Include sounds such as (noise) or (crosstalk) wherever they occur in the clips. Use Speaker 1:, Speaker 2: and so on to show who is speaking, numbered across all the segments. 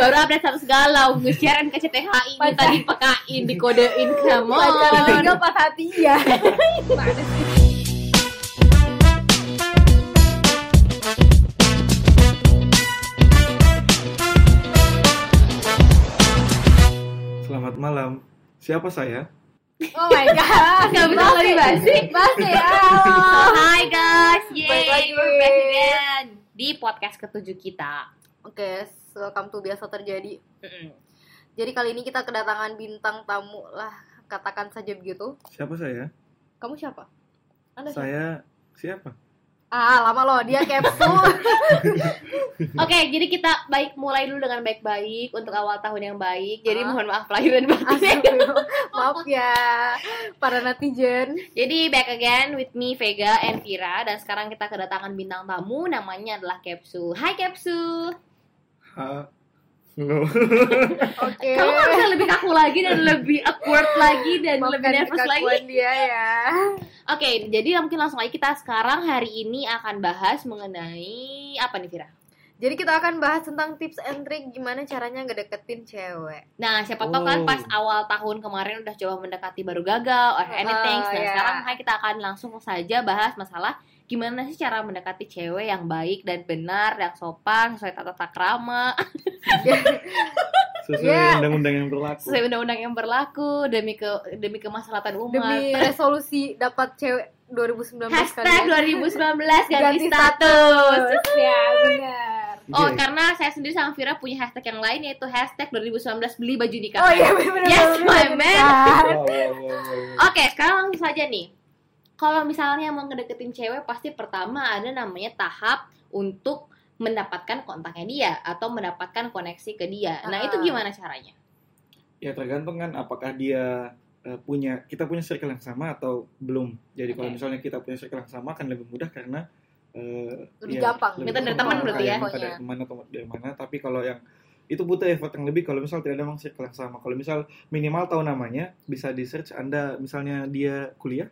Speaker 1: baru update status galau nge-share NKCTHI ini
Speaker 2: Pacar.
Speaker 1: tadi pekain dikodein kamu
Speaker 2: Pacaran tinggal pas hati
Speaker 1: iya.
Speaker 2: ya.
Speaker 3: Selamat malam. Siapa saya?
Speaker 2: Oh my god.
Speaker 1: Gak bisa lebih basi.
Speaker 2: Basi ya.
Speaker 1: Oh, Hi guys,
Speaker 2: Balik
Speaker 1: yay
Speaker 2: lagi.
Speaker 1: we're back again di podcast ketujuh kita.
Speaker 2: Oke, welcome to biasa terjadi.
Speaker 1: Mm-mm.
Speaker 2: Jadi kali ini kita kedatangan bintang tamu lah, katakan saja begitu.
Speaker 3: Siapa saya?
Speaker 2: Kamu siapa? Anda siapa?
Speaker 3: Saya siapa?
Speaker 2: Ah, lama loh, dia
Speaker 1: (laughs)
Speaker 2: capsule.
Speaker 1: Oke, jadi kita baik mulai dulu dengan baik-baik untuk awal tahun yang baik.
Speaker 2: Ah.
Speaker 1: Jadi mohon maaf lahir dan batin.
Speaker 2: Astagfirullah. Maaf ya para netizen.
Speaker 1: Jadi back again with me Vega and Vira dan sekarang kita kedatangan bintang tamu namanya adalah Capsule. Hai Capsule.
Speaker 3: Halo.
Speaker 2: Oke.
Speaker 1: Kamu nggak bisa lebih kaku lagi dan lebih awkward lagi dan
Speaker 2: Maafkan
Speaker 1: lebih nervous lagi.
Speaker 2: kekakuan dia ya.
Speaker 1: Oke, jadi ya mungkin langsung aja kita sekarang hari ini akan bahas mengenai apa nih Vira?
Speaker 2: Jadi kita akan bahas tentang tips and trick gimana caranya ngedeketin cewek.
Speaker 1: Nah, siapa tahu kan
Speaker 3: Oh.
Speaker 1: pas awal tahun kemarin udah coba mendekati baru gagal or anything.
Speaker 2: Oh,
Speaker 1: nah,
Speaker 2: ya.
Speaker 1: sekarang makanya kita akan langsung saja bahas masalah gimana sih cara mendekati cewek yang baik dan benar, yang sopan, sesuai tata takrama,
Speaker 3: Sesuai
Speaker 2: Ya.
Speaker 3: undang-undang yang berlaku.
Speaker 1: (laughs) sesuai undang-undang yang berlaku demi ke demi kemaslahatan umat.
Speaker 2: Demi resolusi dapat cewek 2019
Speaker 1: Hashtag
Speaker 2: kalian.
Speaker 1: 2019 ganti,
Speaker 2: Ganti
Speaker 1: status.
Speaker 2: ya. Terus ya, benar.
Speaker 1: Oh,
Speaker 2: kan.
Speaker 3: Iya.
Speaker 1: karena saya sendiri sama Vira punya hashtag yang lain yaitu hashtag 2019 beli baju nikah.
Speaker 2: Oh iya benar.
Speaker 1: Yes, my
Speaker 2: Oh,
Speaker 1: man.
Speaker 2: iya,
Speaker 3: Wow, wow, wow, wow.
Speaker 1: Oke, sekarang langsung saja nih. Kalau misalnya mau ngedeketin cewek, pasti pertama ada namanya tahap untuk mendapatkan kontaknya dia atau mendapatkan koneksi ke dia. Nah, itu
Speaker 2: Ah.
Speaker 1: gimana caranya?
Speaker 3: Ya tergantung kan apakah dia eh, punya kita punya circle yang sama atau belum. Jadi kalau
Speaker 1: Oke.
Speaker 3: misalnya kita punya circle yang sama akan lebih mudah karena eh,
Speaker 2: Lebih gampang.
Speaker 1: Minta dari teman berarti ya?
Speaker 3: Minta dari teman atau dari mana. Tapi kalau yang itu butuh effort yang lebih kalau misal tidak ada memang circle yang sama. Kalau misal minimal tahu namanya, bisa di search Anda misalnya dia kuliah,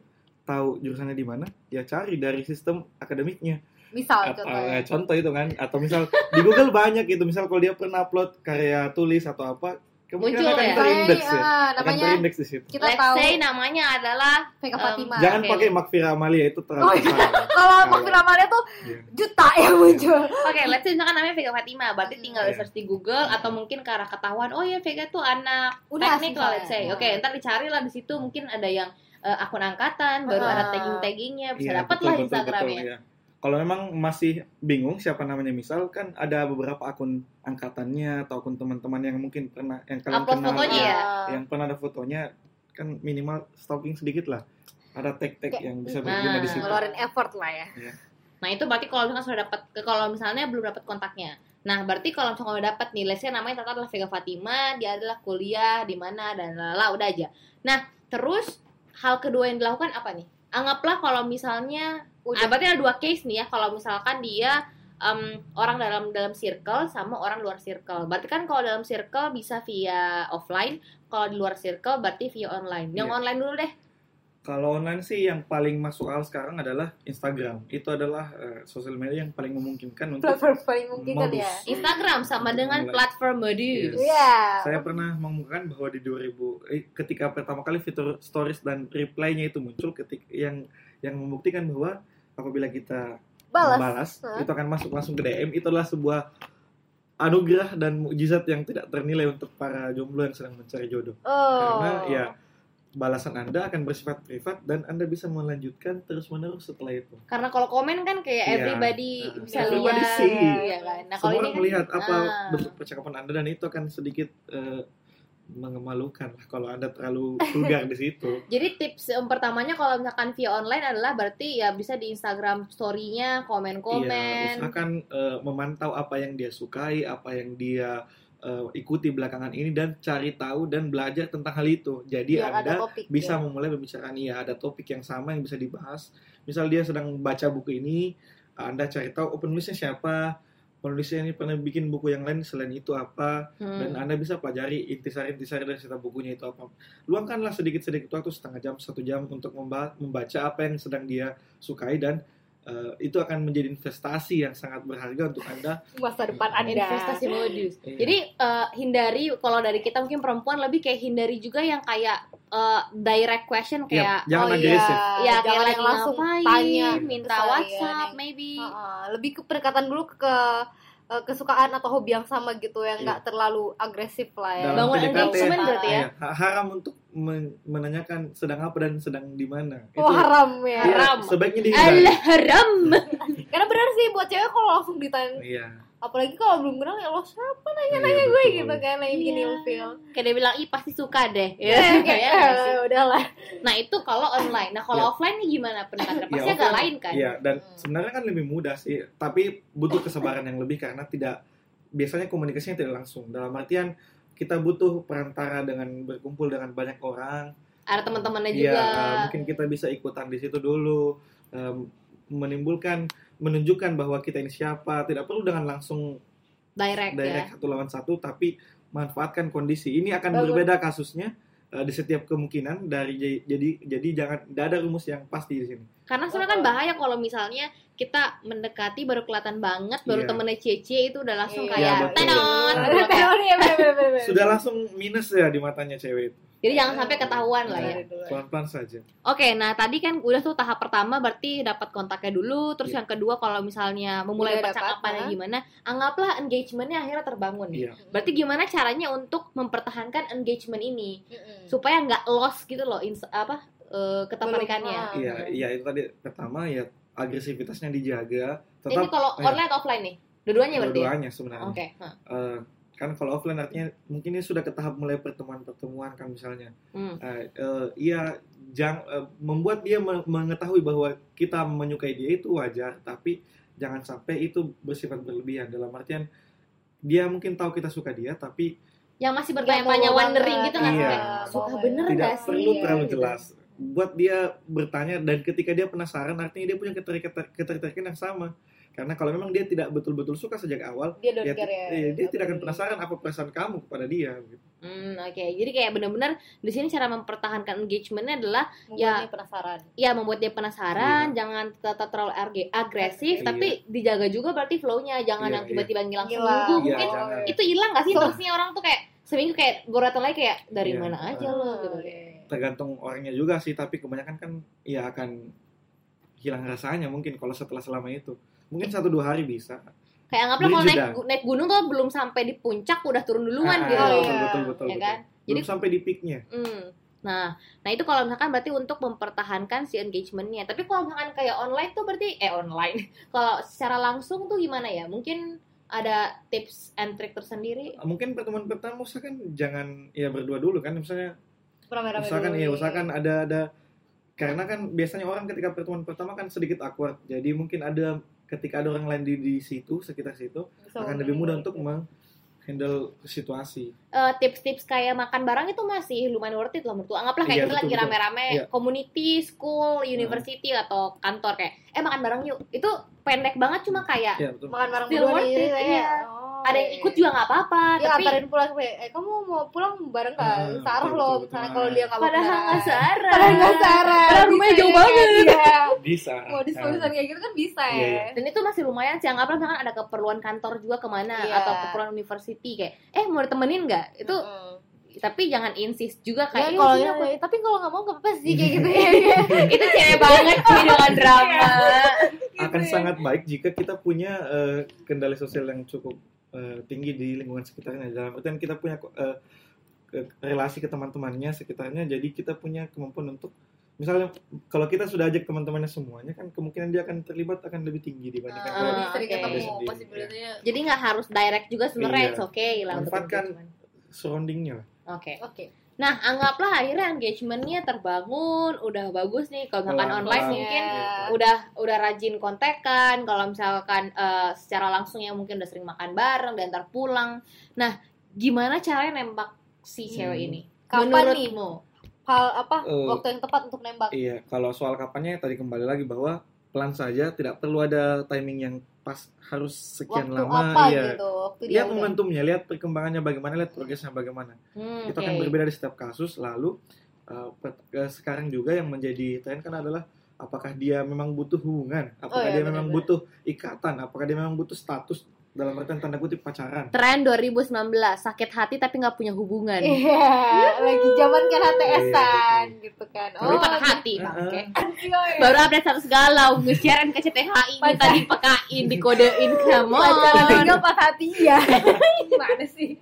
Speaker 3: tahu jurusannya di mana, ya cari dari sistem akademiknya.
Speaker 2: Misal
Speaker 3: Atau-
Speaker 2: contohnya.
Speaker 3: eh, contoh itu kan atau misal di Google banyak gitu. Misal kalau dia pernah upload karya tulis atau apa, kemungkinan
Speaker 1: Muncul
Speaker 3: akan
Speaker 1: ya?
Speaker 3: terindeks
Speaker 2: Saya,
Speaker 3: ya.
Speaker 2: ah,
Speaker 3: Akan
Speaker 2: namanya
Speaker 3: terindeks di situ.
Speaker 2: kita
Speaker 1: Let's
Speaker 2: tahu
Speaker 1: say namanya adalah
Speaker 2: Vega
Speaker 1: um,
Speaker 2: Fatima.
Speaker 3: Jangan
Speaker 1: oke.
Speaker 3: pakai Makfira Amalia itu terlalu
Speaker 2: Oh, iya.
Speaker 3: salah.
Speaker 2: Kalau Makfir Amalia tuh
Speaker 3: Iya.
Speaker 2: juta yang muncul.
Speaker 1: Oke, let's say misalkan namanya Vega Fatima,
Speaker 2: Ah,
Speaker 1: berarti tinggal
Speaker 3: Iya.
Speaker 1: search di Google atau mungkin karena ketahuan, oh ya Vega tuh anak
Speaker 2: Udah Nah.
Speaker 1: teknik
Speaker 2: sih,
Speaker 1: lah
Speaker 2: saya.
Speaker 1: let's say. Oke, ntar dicari lah di situ mungkin ada yang eh, akun angkatan, baru
Speaker 2: Ah.
Speaker 1: ada tagging-taggingnya, bisa ya.
Speaker 3: Iya,
Speaker 1: dapat
Speaker 3: betul,
Speaker 1: lah
Speaker 3: betul,
Speaker 1: Instagramnya.
Speaker 3: betul, iya. Kalau memang masih bingung siapa namanya misal kan ada beberapa akun angkatannya atau akun teman-teman yang mungkin pernah yang kalian
Speaker 1: Upload
Speaker 3: kenal
Speaker 1: fotonya
Speaker 3: ya,
Speaker 1: ya?
Speaker 2: Nah.
Speaker 3: yang pernah ada fotonya kan minimal stalking sedikit lah. Ada tag-tag
Speaker 2: Kayak-
Speaker 3: yang bisa
Speaker 1: Nah.
Speaker 3: berguna di situ.
Speaker 2: Ngeluarin effort lah ya.
Speaker 1: Nah itu berarti kalau misalnya sudah dapat kalau misalnya belum dapat kontaknya. Nah berarti kalau misalnya udah dapat nih, let's say namanya Tata adalah Vega Fatima, dia adalah kuliah di mana dan lala udah aja. Nah terus hal kedua yang dilakukan apa nih? Anggaplah kalau misalnya, ah,
Speaker 2: Udah.
Speaker 1: berarti ada dua case nih ya. Kalau misalkan dia em, orang dalam dalam circle sama orang luar circle. Berarti kan kalau dalam circle bisa via offline, kalau di luar circle berarti via online. Yang
Speaker 3: Iya.
Speaker 1: online dulu deh.
Speaker 3: Kalau online sih yang paling masuk akal sekarang adalah Instagram. Itu adalah eh, sosial media yang paling memungkinkan untuk
Speaker 2: Platform paling mungkin kan
Speaker 3: modus.
Speaker 2: ya.
Speaker 1: Instagram sama dengan
Speaker 3: Online.
Speaker 1: platform modus.
Speaker 3: Yes.
Speaker 2: Iya.
Speaker 3: saya pernah mengemukakan bahwa di 2000 eh, ketika pertama kali fitur stories dan reply-nya itu muncul ketik yang yang membuktikan bahwa apabila kita
Speaker 2: Balas. Nah.
Speaker 3: membalas
Speaker 2: Hah?
Speaker 3: itu akan masuk langsung ke DM itu adalah sebuah anugerah dan mukjizat yang tidak ternilai untuk para jomblo yang sedang mencari jodoh
Speaker 2: Oh.
Speaker 3: karena ya balasan Anda akan bersifat privat dan Anda bisa melanjutkan terus-menerus setelah itu.
Speaker 1: Karena kalau komen kan kayak
Speaker 3: Iya.
Speaker 1: everybody
Speaker 3: Heeh.
Speaker 1: bisa
Speaker 3: Everybody
Speaker 1: lihat,
Speaker 3: see.
Speaker 1: ya kan. Nah kalau
Speaker 3: Semua
Speaker 1: ini
Speaker 3: orang
Speaker 1: kan
Speaker 3: melihat apa
Speaker 1: Ah.
Speaker 3: bentuk percakapan Anda dan itu akan sedikit eh, mengemalukan lah kalau Anda
Speaker 1: (laughs)
Speaker 3: terlalu vulgar di situ.
Speaker 1: jadi tips em, pertamanya kalau misalkan via online adalah berarti ya bisa di Instagram story-nya
Speaker 3: Iya,
Speaker 1: komen-komen.
Speaker 3: usahakan eh, memantau apa yang dia sukai, apa yang dia eh, ikuti belakangan ini dan cari tahu dan belajar tentang hal itu. Jadi
Speaker 1: Iya,
Speaker 2: Biar ada
Speaker 3: Anda
Speaker 2: topik
Speaker 1: gitu.
Speaker 3: bisa
Speaker 2: ya.
Speaker 3: memulai pembicaraan ya ada topik yang sama yang bisa dibahas. Misal dia sedang baca buku ini, Anda cari tahu oh, penulisnya siapa, penulisnya ini pernah bikin buku yang lain selain itu apa
Speaker 1: Hmm.
Speaker 3: dan Anda bisa pelajari intisari-intisari dari cerita bukunya itu apa. Luangkanlah sedikit-sedikit waktu setengah jam, satu jam untuk memba- membaca apa yang sedang dia sukai dan eh, itu akan menjadi investasi yang sangat berharga untuk anda.
Speaker 2: masa depan
Speaker 3: Ada.
Speaker 2: Anda.
Speaker 1: investasi modus.
Speaker 3: Iya.
Speaker 1: Jadi eh, hindari kalau dari kita mungkin perempuan lebih kayak hindari juga yang kayak eh, direct question
Speaker 3: Iya,
Speaker 1: kayak
Speaker 3: jangan
Speaker 1: oh iya,
Speaker 3: agresif.
Speaker 1: ya kayak
Speaker 2: jangan
Speaker 1: lagi
Speaker 2: yang langsung
Speaker 1: ngapain,
Speaker 2: tanya.
Speaker 1: minta
Speaker 2: Terus,
Speaker 1: WhatsApp
Speaker 2: iya,
Speaker 1: maybe.
Speaker 2: Heeh, lebih ke pendekatan dulu ke eh, kesukaan atau hobi yang sama gitu yang
Speaker 3: Iya.
Speaker 2: nggak terlalu agresif lah ya.
Speaker 3: Dalam
Speaker 1: Bangun
Speaker 3: PDKT.
Speaker 1: engagement berarti ya.
Speaker 3: Iya, ha- haram untuk men- menanyakan sedang apa dan sedang di mana.
Speaker 2: Oh haram ya.
Speaker 3: Iya,
Speaker 1: haram.
Speaker 3: sebaiknya dihindari.
Speaker 1: Al-haram.
Speaker 2: Karena benar sih buat cewek kalau langsung ditanya,
Speaker 3: Iya.
Speaker 2: apalagi kalau belum kenal ya lo siapa
Speaker 3: Iya,
Speaker 2: gue
Speaker 3: betul.
Speaker 2: gitu kan yang bikin
Speaker 1: Iya.
Speaker 2: ilfil.
Speaker 1: Kayak dia bilang, "Ih, pasti suka
Speaker 2: (laughs)
Speaker 1: deh." Ya,
Speaker 2: Eh,
Speaker 1: ya,
Speaker 2: kayak,
Speaker 1: nggak sih?
Speaker 2: eh, udahlah.
Speaker 1: Nah, itu kalau online. Nah, kalau
Speaker 3: Iya.
Speaker 1: offline nih gimana pendekatannya?
Speaker 3: Iya,
Speaker 1: Pasti agak
Speaker 3: offline.
Speaker 1: lain kan?
Speaker 3: Iya, dan
Speaker 2: Hmm.
Speaker 3: sebenarnya kan lebih mudah sih, tapi butuh kesabaran yang lebih karena tidak biasanya komunikasinya tidak langsung. Dalam artian kita butuh perantara dengan berkumpul dengan banyak orang.
Speaker 1: Ada teman-temannya
Speaker 3: Iya,
Speaker 1: juga.
Speaker 3: eh, mungkin kita bisa ikutan di situ dulu. Em, menimbulkan menunjukkan bahwa kita ini siapa, tidak perlu dengan langsung
Speaker 1: direct, ya.
Speaker 3: direct satu lawan satu tapi manfaatkan kondisi ini akan
Speaker 2: Bagus.
Speaker 3: berbeda kasusnya eh, di setiap kemungkinan dari j- jadi jadi jangan tidak ada rumus yang pasti di sini
Speaker 1: Karena sebenarnya kan bahaya kalau misalnya kita mendekati baru kelihatan banget, baru
Speaker 3: Iya.
Speaker 1: temennya Cece itu udah langsung
Speaker 2: Iya,
Speaker 1: kayak
Speaker 3: betul.
Speaker 2: (laughs)
Speaker 1: tenot.
Speaker 3: Nah,
Speaker 2: Udah
Speaker 1: baru kayak-
Speaker 2: tahu nih, bener, bener, bener, bener.
Speaker 3: sudah langsung minus ya di matanya cewek itu
Speaker 1: Jadi jangan sampai ketahuan lah ya.
Speaker 2: Dari dulu.
Speaker 3: pelan pelan saja
Speaker 1: Oke, nah tadi kan udah tuh tahap pertama berarti dapat kontaknya dulu, terus
Speaker 3: Ya.
Speaker 1: yang kedua kalau misalnya
Speaker 2: Udah
Speaker 1: memulai
Speaker 2: dapat,
Speaker 1: percakapannya
Speaker 2: nah.
Speaker 1: gimana, anggaplah engagementnya akhirnya terbangun. ya.
Speaker 3: Iya.
Speaker 1: Berarti gimana caranya untuk mempertahankan engagement ini
Speaker 2: Mm-mm.
Speaker 1: supaya nggak lost gitu loh, ins- apa eh, ketertarikannya.
Speaker 2: Belum,
Speaker 3: iya iya itu tadi pertama ya agresivitasnya dijaga
Speaker 1: Ini
Speaker 3: tetap
Speaker 1: kalau
Speaker 3: iya.
Speaker 1: online atau offline nih, dua-duanya berarti. ya?
Speaker 3: dua-duanya
Speaker 1: Oke.
Speaker 3: sebenarnya
Speaker 1: Hah.
Speaker 3: Eh, kan kalau offline artinya mungkin ini sudah ke tahap mulai pertemuan pertemuan kan misalnya
Speaker 1: Hmm.
Speaker 3: Eh, eh, iya jang- eh, membuat dia me- mengetahui bahwa kita menyukai dia itu wajar tapi jangan sampai itu bersifat berlebihan dalam artian dia mungkin tahu kita suka dia tapi
Speaker 1: Yang masih
Speaker 2: Yang
Speaker 1: bertanya-tanya
Speaker 2: mau
Speaker 1: wondering
Speaker 2: banget.
Speaker 1: gitu nggak sih?
Speaker 3: Iya.
Speaker 1: Kayak, Suka
Speaker 2: Mau
Speaker 1: bener
Speaker 2: banget.
Speaker 3: tidak
Speaker 1: nggak sih?
Speaker 3: perlu
Speaker 2: Iya,
Speaker 3: terlalu
Speaker 2: gitu.
Speaker 3: jelas buat dia bertanya dan ketika dia penasaran artinya dia punya keterik- ketertarikan yang sama karena kalau memang dia tidak betul-betul suka sejak awal
Speaker 2: Dia don't
Speaker 3: ya,
Speaker 2: care ya.
Speaker 3: eh,
Speaker 2: Nggak
Speaker 3: dia tidak akan
Speaker 2: peduli.
Speaker 3: penasaran apa perasaan kamu kepada dia gitu.
Speaker 1: Hmm, oke. Jadi kayak benar-benar di sini cara mempertahankan engagementnya adalah
Speaker 2: Mungkin
Speaker 1: Ya.
Speaker 2: dia penasaran.
Speaker 1: ya membuat dia penasaran, jangan tetap terlalu arg- agresif,
Speaker 3: Iya.
Speaker 1: tapi dijaga juga berarti flow-nya, jangan
Speaker 3: Iya,
Speaker 1: yang tiba-tiba ngilang
Speaker 2: Gila.
Speaker 1: seminggu.
Speaker 3: Iya,
Speaker 1: Mungkin
Speaker 3: jangan.
Speaker 1: itu hilang nggak sih
Speaker 2: So-
Speaker 1: terusnya orang tuh kayak seminggu kayak baru datang lagi kayak dari
Speaker 3: Iya.
Speaker 1: mana aja
Speaker 2: Oh,
Speaker 1: lo gitu.
Speaker 2: oke.
Speaker 3: tergantung orangnya juga sih tapi kebanyakan kan ya akan hilang rasanya mungkin kalau setelah selama itu mungkin satu dua hari bisa
Speaker 1: Kayak anggaplah
Speaker 3: Beli
Speaker 1: kalau naik
Speaker 3: jeda.
Speaker 1: gu- naik gunung tuh belum sampai di puncak udah turun duluan
Speaker 3: Ah,
Speaker 1: gitu.
Speaker 2: Oh,
Speaker 3: betul,
Speaker 2: iya.
Speaker 3: betul betul
Speaker 1: Ya
Speaker 3: betul.
Speaker 1: kan?
Speaker 3: belum
Speaker 1: Jadi-
Speaker 3: sampai di peaknya
Speaker 1: Hmm. Nah, nah itu kalau misalkan berarti untuk mempertahankan si engagementnya. Tapi kalau misalkan kayak online tuh berarti eh online. (laughs) kalau secara langsung tuh gimana ya? Mungkin ada tips and trick tersendiri.
Speaker 3: mungkin pertemuan pertama usahakan jangan ya berdua dulu kan misalnya
Speaker 2: Rame-rame
Speaker 3: usahakan
Speaker 2: dulu
Speaker 3: ya
Speaker 2: nih.
Speaker 3: usahakan ada ada karena kan biasanya orang ketika pertemuan pertama kan sedikit awkward jadi mungkin ada ketika ada orang lain di, di situ sekitar situ
Speaker 2: Bisa
Speaker 3: akan
Speaker 2: ngomong
Speaker 3: lebih mudah
Speaker 2: gitu.
Speaker 3: untuk menghandle situasi
Speaker 1: Eh, tips-tips kayak makan barang itu masih lumayan worth it loh menurut gua. Anggaplah kayak
Speaker 3: Iya,
Speaker 1: kita
Speaker 3: betul,
Speaker 1: lagi
Speaker 3: betul.
Speaker 1: rame-rame
Speaker 3: Iya.
Speaker 1: community, school, university atau kantor kayak eh makan barang yuk. Itu pendek banget cuma kayak
Speaker 3: ya betul
Speaker 2: makan bareng
Speaker 1: Still
Speaker 2: berdua
Speaker 1: worth
Speaker 2: nih,
Speaker 1: it,
Speaker 2: kayak,
Speaker 1: iya.
Speaker 2: oh,
Speaker 1: ada yang
Speaker 2: iya.
Speaker 1: ikut juga nggak apa-apa,
Speaker 2: Dia
Speaker 1: tapi
Speaker 2: antarin pulang kayak, eh kamu mau pulang bareng nggak?
Speaker 3: Ah,
Speaker 2: Searah
Speaker 3: betul,
Speaker 2: loh,
Speaker 3: betul,
Speaker 2: misalnya
Speaker 3: betul.
Speaker 2: kalau dia nggak mau
Speaker 1: padahal nggak
Speaker 2: bareng.
Speaker 1: searah.
Speaker 2: Padahal nggak searah.
Speaker 1: Padahal rumahnya
Speaker 2: Bisa
Speaker 1: jauh
Speaker 2: ya,
Speaker 1: banget.
Speaker 2: Iya.
Speaker 3: bisa
Speaker 2: Modus-modusan kayak gitu kan bisa
Speaker 3: Iya,
Speaker 2: ya.
Speaker 3: iya.
Speaker 1: dan itu masih lumayan sih anggaplah misalkan ada keperluan kantor juga kemana
Speaker 2: Iya.
Speaker 1: atau keperluan university kayak eh mau ditemenin nggak itu
Speaker 2: Mm-mm.
Speaker 1: tapi jangan insist juga
Speaker 2: Ya,
Speaker 1: kayak "Iya,
Speaker 2: kalau
Speaker 1: sini
Speaker 2: ya,
Speaker 1: aku-"
Speaker 2: ya, tapi kalau nggak mau nggak apa-apa sih kayak gitu ya.
Speaker 1: (laughs) itu cewek banget sih
Speaker 2: Iya.
Speaker 1: dengan drama
Speaker 3: Iya.
Speaker 2: Gitu
Speaker 3: akan
Speaker 2: ya.
Speaker 3: sangat baik jika kita punya eh, kendali sosial yang cukup eh, tinggi di lingkungan sekitarnya dalam artian kita punya eh, ke- relasi ke teman-temannya sekitarnya jadi kita punya kemampuan untuk misalnya kalau kita sudah ajak teman-temannya semuanya kan kemungkinan dia akan terlibat akan lebih tinggi dibandingkan
Speaker 1: Ah,
Speaker 3: kalau
Speaker 2: Lebih sering
Speaker 1: oke.
Speaker 2: ketemu
Speaker 3: Sendiri, Ya,
Speaker 2: possibility-nya.
Speaker 1: jadi nggak harus direct juga sebenarnya
Speaker 3: Iya.
Speaker 1: it's okay lah untuk
Speaker 3: Manfaatkan.
Speaker 1: engagement.
Speaker 3: surroundingnya lah.
Speaker 1: oke
Speaker 2: Oke.
Speaker 1: nah anggaplah akhirnya engagementnya terbangun udah bagus nih kalau misalkan
Speaker 3: Pelan-pelan.
Speaker 1: online
Speaker 2: Pelan-pelan.
Speaker 1: mungkin
Speaker 2: Iya.
Speaker 1: udah udah rajin kontekan kalau misalkan eh, secara langsung ya mungkin udah sering makan bareng dan ntar pulang nah gimana caranya nembak si cewek
Speaker 3: Hmm.
Speaker 1: ini
Speaker 2: Kapan
Speaker 1: menurutmu
Speaker 2: Hal apa
Speaker 3: Eh,
Speaker 2: waktu yang tepat untuk nembak?
Speaker 3: iya kalau soal kapannya tadi kembali lagi bahwa pelan saja tidak perlu ada timing yang pas harus sekian
Speaker 2: Waktu
Speaker 3: lama
Speaker 2: apa
Speaker 3: iya
Speaker 2: gitu? Waktu dia
Speaker 3: lihat
Speaker 2: udah
Speaker 3: momentumnya lihat perkembangannya bagaimana lihat progresnya bagaimana
Speaker 1: Hmm,
Speaker 3: itu
Speaker 1: oke.
Speaker 3: eh, akan berbeda di setiap kasus lalu uh, per- eh, sekarang juga yang menjadi tren kan adalah apakah dia memang butuh hubungan apakah
Speaker 2: Oh, iya,
Speaker 3: dia memang
Speaker 2: benar-benar.
Speaker 3: butuh ikatan apakah dia memang butuh status dalam artian tanda kutip pacaran
Speaker 1: Tren 2019 sakit hati tapi nggak punya hubungan.
Speaker 2: Iya, lagi zaman
Speaker 3: Iya,
Speaker 2: kan HTS-an gitu kan.
Speaker 1: Baru
Speaker 2: Oh, ya.
Speaker 1: patah hati,
Speaker 3: Heeh.
Speaker 1: bangke.
Speaker 2: anjay.
Speaker 1: Baru update status galau, nge-share NKCTHI, minta
Speaker 2: Pacar-
Speaker 1: dipekain, dikodein, come
Speaker 2: Pacaran
Speaker 1: on.
Speaker 2: juga patah hati (laughs) ya. Gimana sih?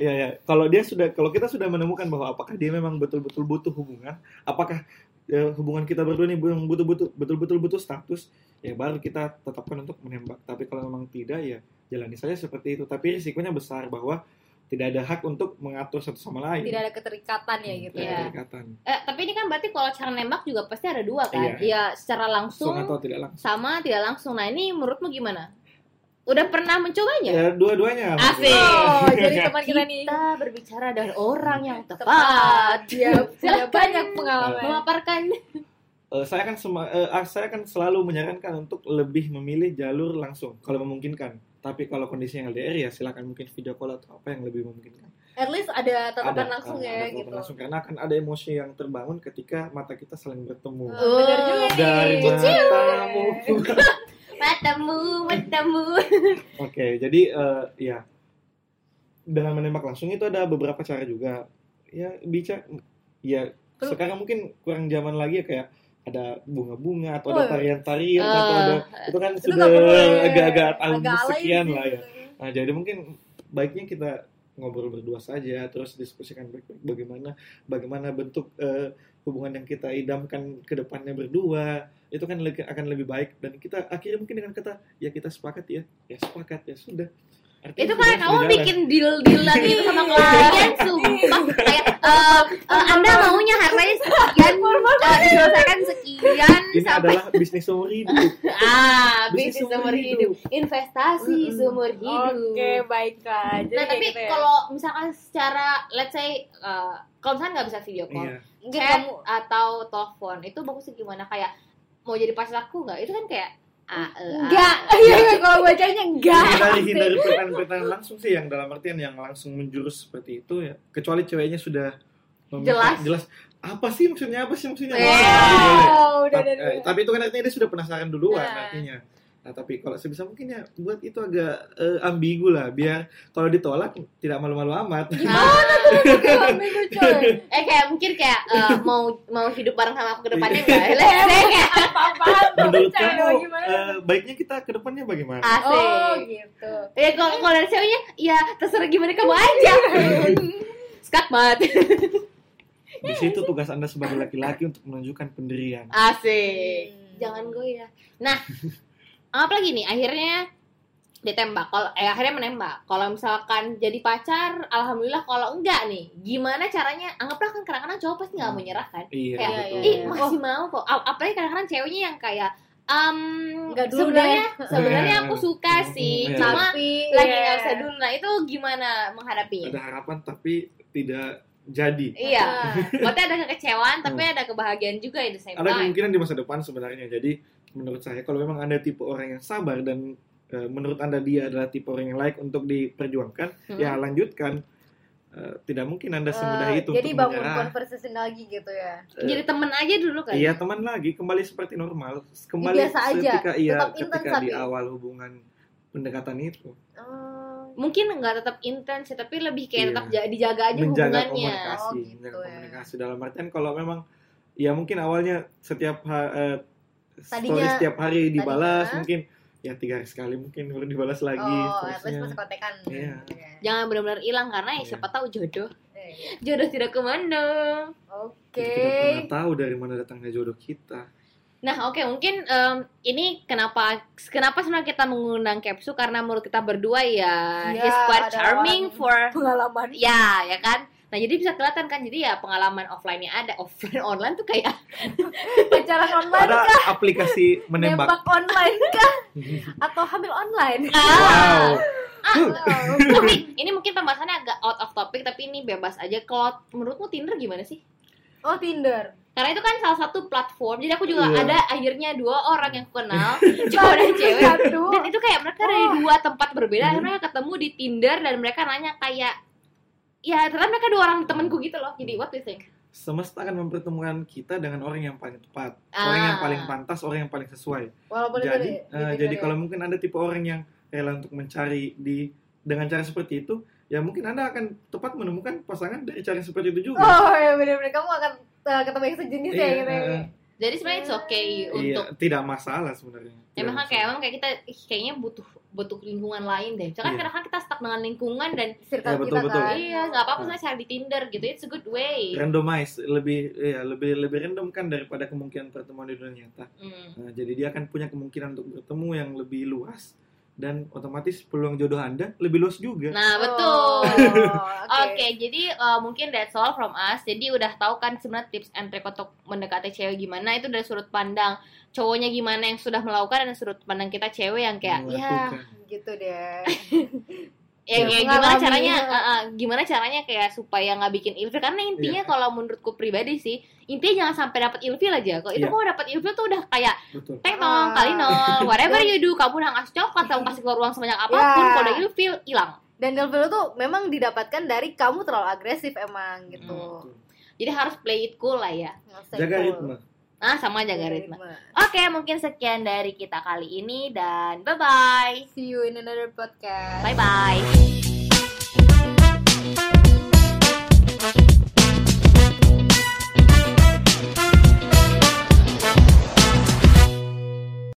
Speaker 3: Iya ya. Kalau dia sudah kalau kita sudah menemukan bahwa apakah dia memang betul-betul butuh hubungan, apakah ya, hubungan kita berdua ini memang butuh-butuh betul-betul butuh status, ya baru kita tetapkan untuk menembak. Tapi kalau memang tidak ya jalani saja seperti itu. Tapi risikonya besar bahwa tidak ada hak untuk mengatur satu sama lain.
Speaker 2: Tidak ada keterikatan ya gitu
Speaker 3: Tidak
Speaker 1: Iya.
Speaker 3: ada
Speaker 2: ya.
Speaker 3: ikatan.
Speaker 1: Eh, tapi ini kan berarti kalau cara nembak juga pasti ada dua kan?
Speaker 3: Iya.
Speaker 1: Iya, secara
Speaker 3: Langsung
Speaker 1: langsung
Speaker 3: atau tidak langsung.
Speaker 1: sama tidak langsung. Nah, ini menurutmu gimana? Udah pernah mencobanya?
Speaker 2: iya.
Speaker 3: Ya dua-duanya.
Speaker 1: Asik.
Speaker 2: Oh, jadi teman kita nih
Speaker 1: Kita berbicara dengan orang yang tepat.
Speaker 2: tepat. Dia punya
Speaker 1: (laughs) Silakan.
Speaker 2: banyak pengalaman.
Speaker 1: Memaparkan
Speaker 3: Eh, saya kan sema- eh, ah, saya kan selalu menyarankan untuk lebih memilih jalur langsung kalau memungkinkan. Tapi kalau kondisi yang LDR ya silakan mungkin video call atau apa yang lebih memungkinkan.
Speaker 2: At least ada tatapan
Speaker 3: Ada,
Speaker 2: langsung
Speaker 3: ada
Speaker 2: ya
Speaker 3: tatapan
Speaker 2: gitu.
Speaker 3: langsung. karena akan ada emosi yang terbangun ketika mata kita saling bertemu.
Speaker 2: Oh, iya. bener juga nih.
Speaker 3: Dari matamu. Oke,
Speaker 1: matamu, matamu.
Speaker 3: jadi eh, ya dengan menembak langsung itu ada beberapa cara juga. Ya bicara ya
Speaker 2: Perlu-
Speaker 3: sekarang mungkin kurang zaman lagi ya kayak ada bunga-bunga atau
Speaker 2: Oh. Ah,
Speaker 3: ada tarian-tarian atau
Speaker 1: Eh,
Speaker 3: ada itu kan
Speaker 2: Itu
Speaker 3: sudah
Speaker 2: nggak boleh.
Speaker 3: agak-agak tahun
Speaker 2: Agak alay
Speaker 3: sekian
Speaker 2: sih
Speaker 3: lah ya.
Speaker 2: itu.
Speaker 3: Nah, jadi mungkin baiknya kita ngobrol berdua saja, terus diskusikan baik-baik bagaimana bagaimana bentuk eh, hubungan yang kita idamkan ke depannya berdua. Itu kan le- akan lebih baik dan kita akhirnya mungkin dengan kata ya kita sepakat ya. Ya sepakat ya sudah. Artinya
Speaker 1: Itu
Speaker 3: hubungan
Speaker 1: kayak kamu
Speaker 3: sudah jalan.
Speaker 1: bikin deal-dealan gitu sama
Speaker 3: (laughs)
Speaker 1: klien, sumpah. Kayak, eh, eh, Anda maunya harganya sekian, eh, diselesaikan sekian,
Speaker 3: ini
Speaker 1: sampai
Speaker 3: adalah bisnis seumur
Speaker 1: (laughs)
Speaker 3: hidup.
Speaker 1: ah,
Speaker 3: Bisnis
Speaker 1: bisnis seumur hidup. Investasi
Speaker 3: Mm-mm.
Speaker 1: seumur hidup.
Speaker 2: Oke, baiklah. Jadi
Speaker 1: Nah,
Speaker 2: kayak
Speaker 1: tapi
Speaker 2: gitu ya.
Speaker 1: kalau misalkan secara, let's say, eh, kalau misalkan nggak bisa video call,
Speaker 3: Iya.
Speaker 2: Mungkin
Speaker 1: chat
Speaker 2: kamu-
Speaker 1: atau telepon itu bagusnya gimana kayak mau jadi pacar aku nggak itu kan kayak ah, eh, ah.
Speaker 2: Enggak, (laughs) iya iya, kalau bacanya enggak.
Speaker 1: (laughs)
Speaker 3: Hindari hindari pertanyaan-pertanyaan langsung sih yang dalam artian yang langsung menjurus seperti itu ya. Kecuali ceweknya sudah meminta-
Speaker 1: Jelas. Iya.
Speaker 3: jelas apa sih maksudnya apa sih
Speaker 2: Iya.
Speaker 3: maksudnya
Speaker 1: Wow.
Speaker 3: Boleh.
Speaker 2: Wow, udah
Speaker 3: Ta-
Speaker 2: dari
Speaker 3: eh, tapi itu kan artinya dia sudah penasaran duluan
Speaker 2: Nah.
Speaker 3: artinya. Nah, tapi kalau sebisa mungkin ya buat itu agak eh, ambigu lah biar kalau ditolak tidak malu-malu amat.
Speaker 1: eh kayak mungkin kayak eh, mau mau hidup bareng sama aku ke depannya
Speaker 2: (laughs)
Speaker 1: enggak let's say
Speaker 2: Ah,
Speaker 1: kayak
Speaker 2: apa-apaan tuh,
Speaker 3: (laughs) Menurut
Speaker 2: bercanda
Speaker 3: kamu
Speaker 2: gimana?
Speaker 3: eh, baiknya kita ke depannya bagaimana?
Speaker 1: asik
Speaker 2: Oh, gitu.
Speaker 1: ya kalau kalau dari ceweknya ya terserah gimana kamu aja skak banget
Speaker 2: Iya.
Speaker 3: Di situ tugas Anda sebagai laki-laki untuk menunjukkan pendirian.
Speaker 1: asik
Speaker 2: Hmm.
Speaker 1: jangan gue ya nah apa lagi nih akhirnya ditembak kalau eh akhirnya menembak kalau misalkan jadi pacar alhamdulillah kalau enggak nih gimana caranya anggaplah kan kadang-kadang cowok pasti nggak mau nyerah kan
Speaker 3: Iya,
Speaker 1: Kayak,
Speaker 3: betul.
Speaker 2: iya,
Speaker 1: ih
Speaker 2: iya.
Speaker 1: masih mau kok A- apalagi kadang-kadang ceweknya yang kayak um,
Speaker 2: Nggak dulu
Speaker 1: sebenarnya sebenarnya
Speaker 3: Iya.
Speaker 1: aku suka sih
Speaker 3: Iya.
Speaker 1: cuma
Speaker 2: Tapi
Speaker 1: lagi
Speaker 2: iya.
Speaker 1: nggak bisa dulu nah itu gimana menghadapinya
Speaker 3: Ada harapan tapi tidak jadi.
Speaker 1: iya
Speaker 2: Ah.
Speaker 1: maksudnya ada kekecewaan tapi ada kebahagiaan juga ya the same
Speaker 2: Iya.
Speaker 3: Hmm. Ada
Speaker 1: time
Speaker 3: kemungkinan di masa depan sebenarnya. Jadi menurut saya kalau memang Anda tipe orang yang sabar dan eh, menurut Anda dia adalah tipe orang yang layak untuk diperjuangkan,
Speaker 1: Hmm.
Speaker 3: ya lanjutkan Eh, tidak mungkin anda semudah
Speaker 2: Eh,
Speaker 3: itu
Speaker 2: Jadi
Speaker 3: untuk
Speaker 2: bangun
Speaker 3: menyerah.
Speaker 2: konversasi lagi gitu ya.
Speaker 3: Eh,
Speaker 1: jadi temen aja dulu kan
Speaker 3: iya teman lagi kembali seperti normal kembali
Speaker 2: Biasa aja,
Speaker 3: ketika iya
Speaker 2: tetap intens
Speaker 3: ketika di
Speaker 2: tapi-
Speaker 3: awal hubungan pendekatan itu
Speaker 2: Oh,
Speaker 1: mungkin nggak tetap intens ya, tapi lebih kayak
Speaker 3: Iya.
Speaker 1: tetap ja- dijaga aja
Speaker 3: menjaga
Speaker 1: hubungannya
Speaker 3: komunikasi
Speaker 2: Oh, gitu
Speaker 3: menjaga
Speaker 2: ya.
Speaker 3: komunikasi dalam artian kalau memang ya mungkin awalnya setiap ha- eh, story
Speaker 2: Tadinya-
Speaker 3: setiap hari dibalas
Speaker 2: tadinya-
Speaker 3: mungkin ya tiga hari sekali mungkin baru dibalas lagi
Speaker 2: oh at least
Speaker 3: seterusnya.
Speaker 2: masih kontekan.
Speaker 3: Iya.
Speaker 2: Iya.
Speaker 1: jangan benar-benar hilang karena ya
Speaker 3: Iya.
Speaker 1: siapa tahu jodoh (laughs)
Speaker 2: Iya.
Speaker 1: jodoh tidak kemana
Speaker 3: Kita
Speaker 2: Oke.
Speaker 3: tidak pernah tahu dari mana datangnya jodoh kita
Speaker 1: Nah, oke, mungkin em, ini kenapa kenapa sebenarnya kita mengundang Kepsu karena menurut kita berdua ya
Speaker 2: Iya,
Speaker 1: he's quite
Speaker 2: ada
Speaker 1: charming
Speaker 2: orang-
Speaker 1: for
Speaker 2: Pengalaman.
Speaker 1: ya, ya kan? Nah, jadi bisa kelihatan kan jadi ya pengalaman offline-nya ada, (laughs) offline online tuh kayak
Speaker 2: Pacaran online
Speaker 3: ada
Speaker 2: (laughs)
Speaker 3: aplikasi menembak
Speaker 2: Nembak online kah?
Speaker 3: (laughs)
Speaker 2: Atau hamil online?
Speaker 1: ah.
Speaker 3: wow
Speaker 2: Oh.
Speaker 3: (laughs)
Speaker 1: Tapi ini mungkin pembahasannya agak out of topic tapi ini bebas aja. Kalau menurutmu Tinder gimana sih?
Speaker 2: Oh Tinder.
Speaker 1: Karena itu kan salah satu platform. Jadi aku juga
Speaker 3: Iya.
Speaker 1: ada akhirnya dua orang yang aku
Speaker 3: (laughs)
Speaker 1: kenal, cowok dan cewek.
Speaker 2: Satu.
Speaker 1: dan itu kayak mereka dari dua tempat berbeda
Speaker 3: Mhm.
Speaker 1: akhirnya mereka ketemu di Tinder dan mereka nanya kayak ya ternyata mereka dua orang temanku gitu loh jadi what do you think
Speaker 3: semesta akan mempertemukan kita dengan orang yang paling tepat, orang
Speaker 1: Ah.
Speaker 3: yang paling pantas, orang yang paling sesuai.
Speaker 2: Walaupun itu
Speaker 3: jadi
Speaker 2: di-
Speaker 3: eh,
Speaker 2: di-
Speaker 3: jadi
Speaker 2: di-
Speaker 3: kalau mungkin anda tipe orang yang rela untuk mencari di dengan cara seperti itu ya mungkin anda akan tepat menemukan pasangan dari cara yang seperti itu juga
Speaker 2: Oh ya benar-benar kamu akan eh, ketemu yang sejenis ya
Speaker 3: Iya,
Speaker 2: gitu. ya.
Speaker 3: eh,
Speaker 1: Jadi sebenarnya it's okay untuk
Speaker 3: iya tidak masalah sebenarnya
Speaker 1: emang
Speaker 3: Tidak
Speaker 1: kan
Speaker 3: masalah.
Speaker 1: kayak emang kayak kita ih, kayaknya butuh butuh lingkungan lain deh. Misalkan
Speaker 3: Iya.
Speaker 1: kadang-kadang kita stuck dengan lingkungan dan
Speaker 2: Circle
Speaker 3: Iya, betul,
Speaker 2: kita
Speaker 3: betul.
Speaker 2: kan.
Speaker 1: iya nggak apa-apa saya cari di Tinder gitu. It's a good way.
Speaker 3: randomize lebih ya lebih lebih random kan daripada kemungkinan pertemuan di dunia nyata
Speaker 1: Hmm.
Speaker 3: Nah, jadi dia akan punya kemungkinan untuk bertemu yang lebih luas dan otomatis peluang jodoh anda lebih luas juga
Speaker 2: Oh,
Speaker 1: Nah betul. Oke,
Speaker 2: (laughs) Oke.
Speaker 1: jadi uh, mungkin that's all from us. Jadi udah tahu kan sebenarnya tips and trick untuk mendekati cewek gimana itu dari sudut pandang cowoknya gimana yang sudah melakukan dan sudut pandang kita cewek yang
Speaker 3: Hmm.
Speaker 1: kayak ya
Speaker 3: Melakukan.
Speaker 2: Gitu deh.
Speaker 1: ya,
Speaker 3: Iya.
Speaker 1: kayak gimana
Speaker 2: Mengalami.
Speaker 1: caranya uh, uh, gimana caranya kayak supaya nggak bikin ilfil karena intinya
Speaker 3: Iya.
Speaker 1: kalau menurutku pribadi sih intinya jangan sampai dapat ilfil aja kok itu
Speaker 3: Iya.
Speaker 1: kalau dapat ilfil tuh udah kayak
Speaker 3: betul
Speaker 2: Ah.
Speaker 1: tek nol kali nol whatever you do kamu udah ngasih coklat kamu kasih keluar uang sebanyak apapun
Speaker 2: Ya.
Speaker 1: kalau udah ilfil hilang
Speaker 2: Dan ilfil tuh memang didapatkan dari kamu terlalu agresif emang gitu.
Speaker 3: Betul.
Speaker 1: jadi harus play it cool lah ya
Speaker 2: Nge-stay
Speaker 3: Hmm. jaga
Speaker 2: cool.
Speaker 3: ritme
Speaker 1: ah sama jaga ritme Oke, mungkin sekian dari kita kali ini dan bye-bye.
Speaker 2: See you in another podcast.
Speaker 1: Bye-bye.